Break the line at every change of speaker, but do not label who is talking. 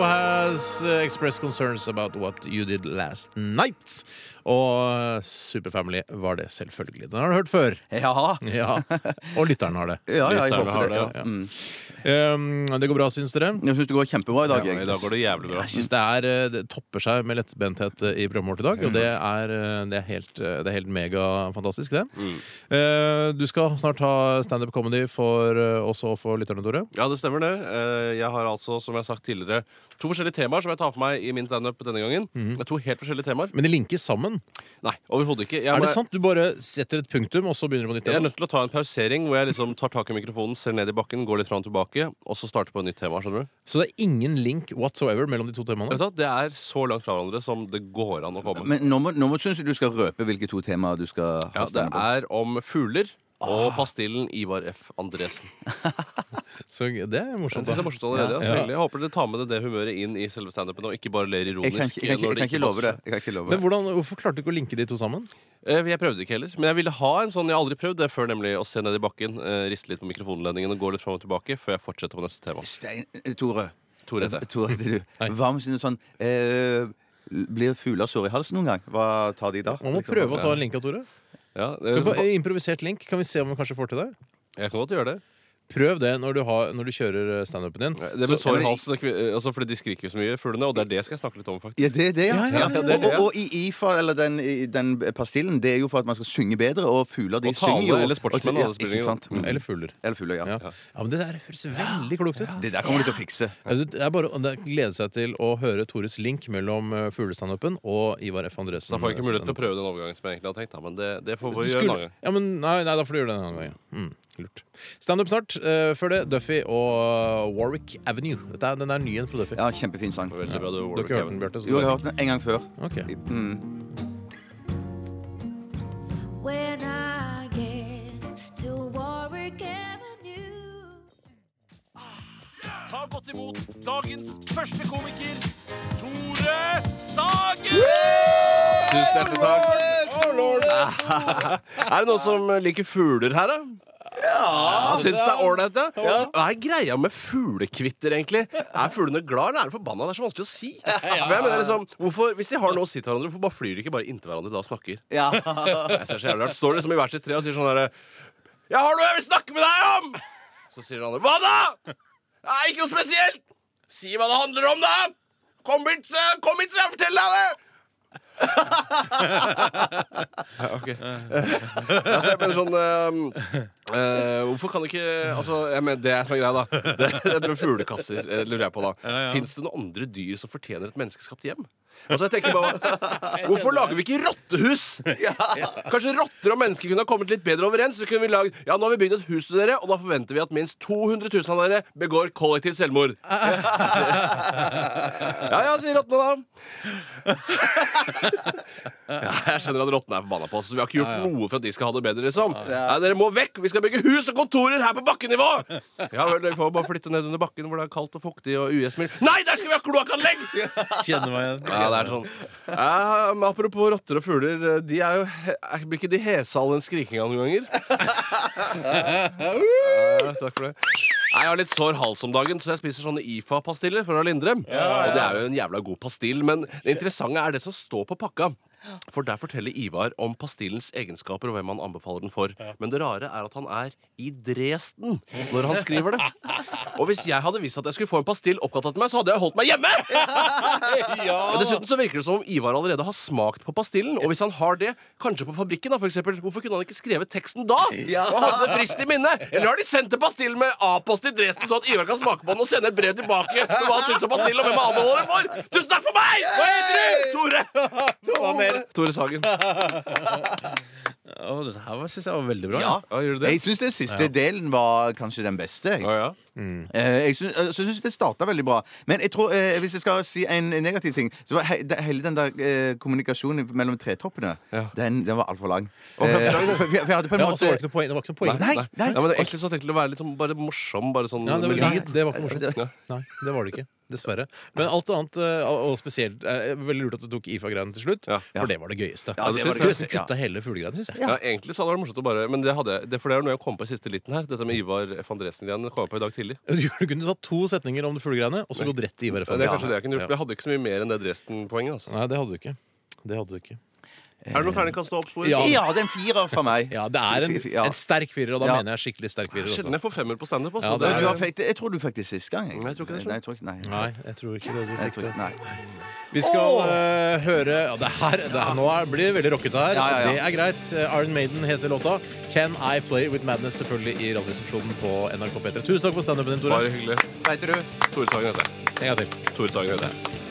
Fans eh, express concerns about what you did last night. Og uh, Superfamily var det selvfølgelig. Den har du hørt før.
Ja.
Ja, Og lytteren har det.
Ja, ja, jeg
Lytterne
håper
har
det. Ja.
det,
ja.
Mm.
Um, det går bra, syns dere?
Jeg syns det går kjempebra i dag.
I dag går det jævlig bra.
Jeg synes det, er, eh, det topper seg med lettbenthet eh, i programmet vårt i dag,
Mm.
og det er, eh, det er helt, eh, det er helt megafantastisk, det.
Mm.
Eh, Du skal snart ha standup comedy for eh, oss og for lytterne, Tore.
Ja, det stemmer det. Eh, Jeg har altså, som jeg har sagt tidligere, to forskjellige temaer som jeg tar for meg i min standup denne gangen.
Mhm.
Det er To helt forskjellige temaer.
Men de linkes sammen.
Nei, overhodet ikke. Jeg,
Er
må-
det sant? Du bare setter et punktum, og så begynner du på nytt?
jeg er
igjen?
nødt til å ta en pausering hvor jeg liksom tar tak i mikrofonen, ser ned i bakken, går litt fram og tilbake, og så starter på et nytt tema. skjønner du?
Så det er ingen link whatsoever mellom de to
Vet
temaene?
du hva? Det er så langt fra hverandre som det går an å komme.
Men nå, må- nå må- syns jeg du skal røpe hvilke to temaer du skal
Ja,
ha
det
stemme på.
er om fugler og
Ah.
pastillen Ivar F. Andresen.
Så det er
Jeg
morsomt.
synes det er
Da.
morsomt allerede.
Ja.
Ja. så hyggelig. Jeg håper dere tar med dere det humøret inn i selve standupen og ikke bare ler
Jeg kan
ironisk.
ikke, jeg kan ikke,
når
jeg kan ikke love
passer
det. Jeg kan ikke love
Men
det.
hvordan, Hvorfor klarte du ikke å linke de to sammen?
Eh, Jeg prøvde ikke heller, men jeg ville ha en sånn. Jeg har aldri prøvd det før, nemlig å se ned i bakken, eh, riste litt på mikrofonledningen og gå litt fram og tilbake før jeg fortsetter på neste tema.
Stein, eh, Tore.
Tore heter jeg.
Tore heter du. Hva med sine sånn eh, Blir fugler sår i halsen noen gang? Hva tar de da? Liksom.
Man må prøve å ta en link, Tore.
Ja,
Men på-
eh,
Improvisert link. Kan vi se om vi kanskje får til det?
jeg kan godt gjøre det.
Prøv det når du, har, når du kjører eh, standupen din.
Det med sår i halsen, det kvi- eh, altså, fordi de skriker jo så mye, fuglene, og det er det jeg skal snakke litt om, faktisk.
Ja, det er det, ja.
Ja, ja, ja,
det er det, ja.
Og, og i IFA, eller den, i- den pastillen, det er jo for at man skal synge bedre, og fugler de
Og tale,
synger jo
eller sportsmenn,
og-
alle spiller
ikke
ingen
sant?
rolle.
Mm.
Eller fugler.
Eller fugler, ja.
Ja. ja, men Det der høres veldig klokt ut.
Det der kommer du til å fikse.
Ja, Det det er bare å det- glede seg til å høre Tores link mellom eh, fuglestandupen og Ivar F. Andresen.
Da får jeg ikke mulighet til å prøve den overgangen som jeg egentlig hadde tenkt, da, men det, det får vi
Mm. Du
gjøre en annen
skulle,
gang.
ja, men, nei, nei, da får du gjøre det en annen gang. ja. Mm, lurt. Standup snart. Eh, før det, Duffy og Warwick Avenue. Dette er, den er ny igjen fra Duffy.
Ja, kjempefin sang. Jo,
Veldig bra, du,
Du har
Warwick
ikke hørt den,
Kevin.
Bjarte? så
jeg
du
har
vet
hørt den en gang før.
ikke. Ok.
Mm.
When I get to Warwick Avenue.
Ta godt imot dagens første komiker, Tore Sagen!
Tusen hjertelig takk. Er det noen som liker fugler her, da? Ja, Syns det er ålreit, ja? Hva er greia med fuglekvitter, egentlig? Er fuglene glad, eller er de forbanna? Det er så vanskelig å si. For jeg mener liksom, hvorfor, Hvis de har noe å si til hverandre, hvorfor bare flyr de ikke bare inntil hverandre da og snakker?
Ja.
Jeg ser så jævlig rart. Står liksom i hvert sitt tre og sier sånn herre Jeg har noe jeg vil snakke med deg om! Så sier den andre Hva da? Nei, ikke noe spesielt! Si hva det handler om, da! Kom hit, så, kom hit, så jeg forteller deg det! ja, ok. altså, jeg mener sånn eh, eh, Hvorfor kan ikke Altså, jeg mener, Det er som er greia, da. Det, det med Fuglekasser eh, lurer jeg på, da. Fins det noen andre dyr som fortjener et menneskeskapt hjem? Altså, jeg tenker bare Hvorfor lager vi ikke rottehus? Kanskje rotter og mennesker kunne ha kommet litt bedre overens. Så kunne vi lagd Ja, nå har vi bygd et hus til dere, og da forventer vi at minst 200 000 av dere begår kollektiv selvmord. ja ja, sier rottene da. ja, jeg skjønner at rottene er forbanna på oss. Vi har ikke gjort noe for at de skal ha det bedre, liksom. Nei, dere må vekk! Vi skal bygge hus og kontorer her på bakkenivå! Ja vel, dere får bare flytte ned under bakken hvor det er kaldt og fuktig og ugjestmildt. Nei, der skal vi ha kloakkanlegg!
Kjenner meg igjen.
Ja, det er sånn. Eh, men apropos rotter og fugler. eh, De er jo, he- blir ikke de hese av den skrikinga noen ganger? Eh, takk for det. Nei, Jeg har litt sår hals om dagen, så jeg spiser sånne IFA-pastiller for å lindre. Og det er jo en jævla god pastill, men det interessante er det som står på pakka. For der forteller Ivar om pastillens egenskaper og hvem han anbefaler den for. Men det rare er at han er i Dresden når han skriver det. Og hvis jeg hadde visst at jeg skulle få en pastill oppkalt etter meg, så hadde jeg holdt meg hjemme! Men Dessuten så virker det som om Ivar allerede har smakt på pastillen. Og hvis han har det, kanskje på fabrikken, da, for eksempel, hvorfor kunne han ikke skrevet teksten da? Og hatt det friskt i minne? Eller har de sendt en pastill med A-post i Dresden, sånn at Ivar kan smake på den og sende et brev tilbake med hva han syns om pastillen, og hvem han anbefaler den for? Tusen takk for meg! Hva heter du? Tore! Tore Sagen.
Å, det her syns jeg var veldig bra.
ja.
Ja, gjør du det?
Jeg syns den siste delen var kanskje den beste. Jeg.
Ja, ja.
Eh, Jeg syns, eh, så syns jeg det starta veldig bra. Men jeg tror, eh, hvis jeg skal si en negativ ting Så var he, det, hele den der eh, kommunikasjonen mellom tretoppene,
Ja.
den, den var altfor lang. Eh, for, for jeg hadde på en
Ja, og så var
måte
det ikke noe poeng. Det var ikke noe poeng.
Nei, nei.
men det er Egentlig så tenkte jeg å være litt sånn bare morsom, bare sånn
Ja, det, var,
med
nei,
lyd.
det var ikke morsomt. Nei, det var det ikke. Dessverre. Men alt annet, eh, og og spesielt eh, Veldig lurt at du tok IFA-greiene til slutt,
Ja.
for det var det gøyeste.
Ja,
det
det
var det
var det
nesten
gøyeste, ja.
kutta hele fuglegreiene, syns jeg.
Ja, egentlig så hadde det vært morsomt å bare Men det hadde jeg. Det, for det er noe jeg kom på i siste liten her. Dette med Ivar F. Andresen-greiene kom jeg på i dag tidlig.
Du kunne tatt to setninger om det fuglegreiene, og så gått rett til Ivar F.
Det er kanskje
Andersen.
det jeg kunne gjort.
Ja.
Men jeg hadde ikke så mye mer enn det Dresden-poenget. Altså.
Nei, det hadde du ikke. Det hadde du ikke.
Er det noe terningkast å oppspore?
Ja.
Ja, det er en firer fra meg.
Ja, det er en,
Fy- fy- ja.
en sterk firer, og da
Ja.
mener jeg skikkelig sterk firer.
Sjelden
Også.
jeg får femmer på standup. Altså.
Ja,
Ja,
det er-
du har fikk det. Jeg tror du fikk det sist gang.
Nei, jeg tror ikke det, så.
Nei, jeg tror ikke, nei.
Nei, jeg tror ikke det. Du
Jeg
fikk
tror
det.
ikke, nei.
Vi skal eh, høre ja, det her, det her, Nå er, blir det veldig rockete her.
Ja, ja, ja.
Det er greit. Eh, Iron Maiden heter låta. Can I Play With Madness, selvfølgelig, i Radioresepsjonen på NRK P3. Tusen takk for standupen din, Tore.
Bare hyggelig.
Vet du?
Tore Sagen heter jeg.
En gang til.
Tore Sagen heter jeg.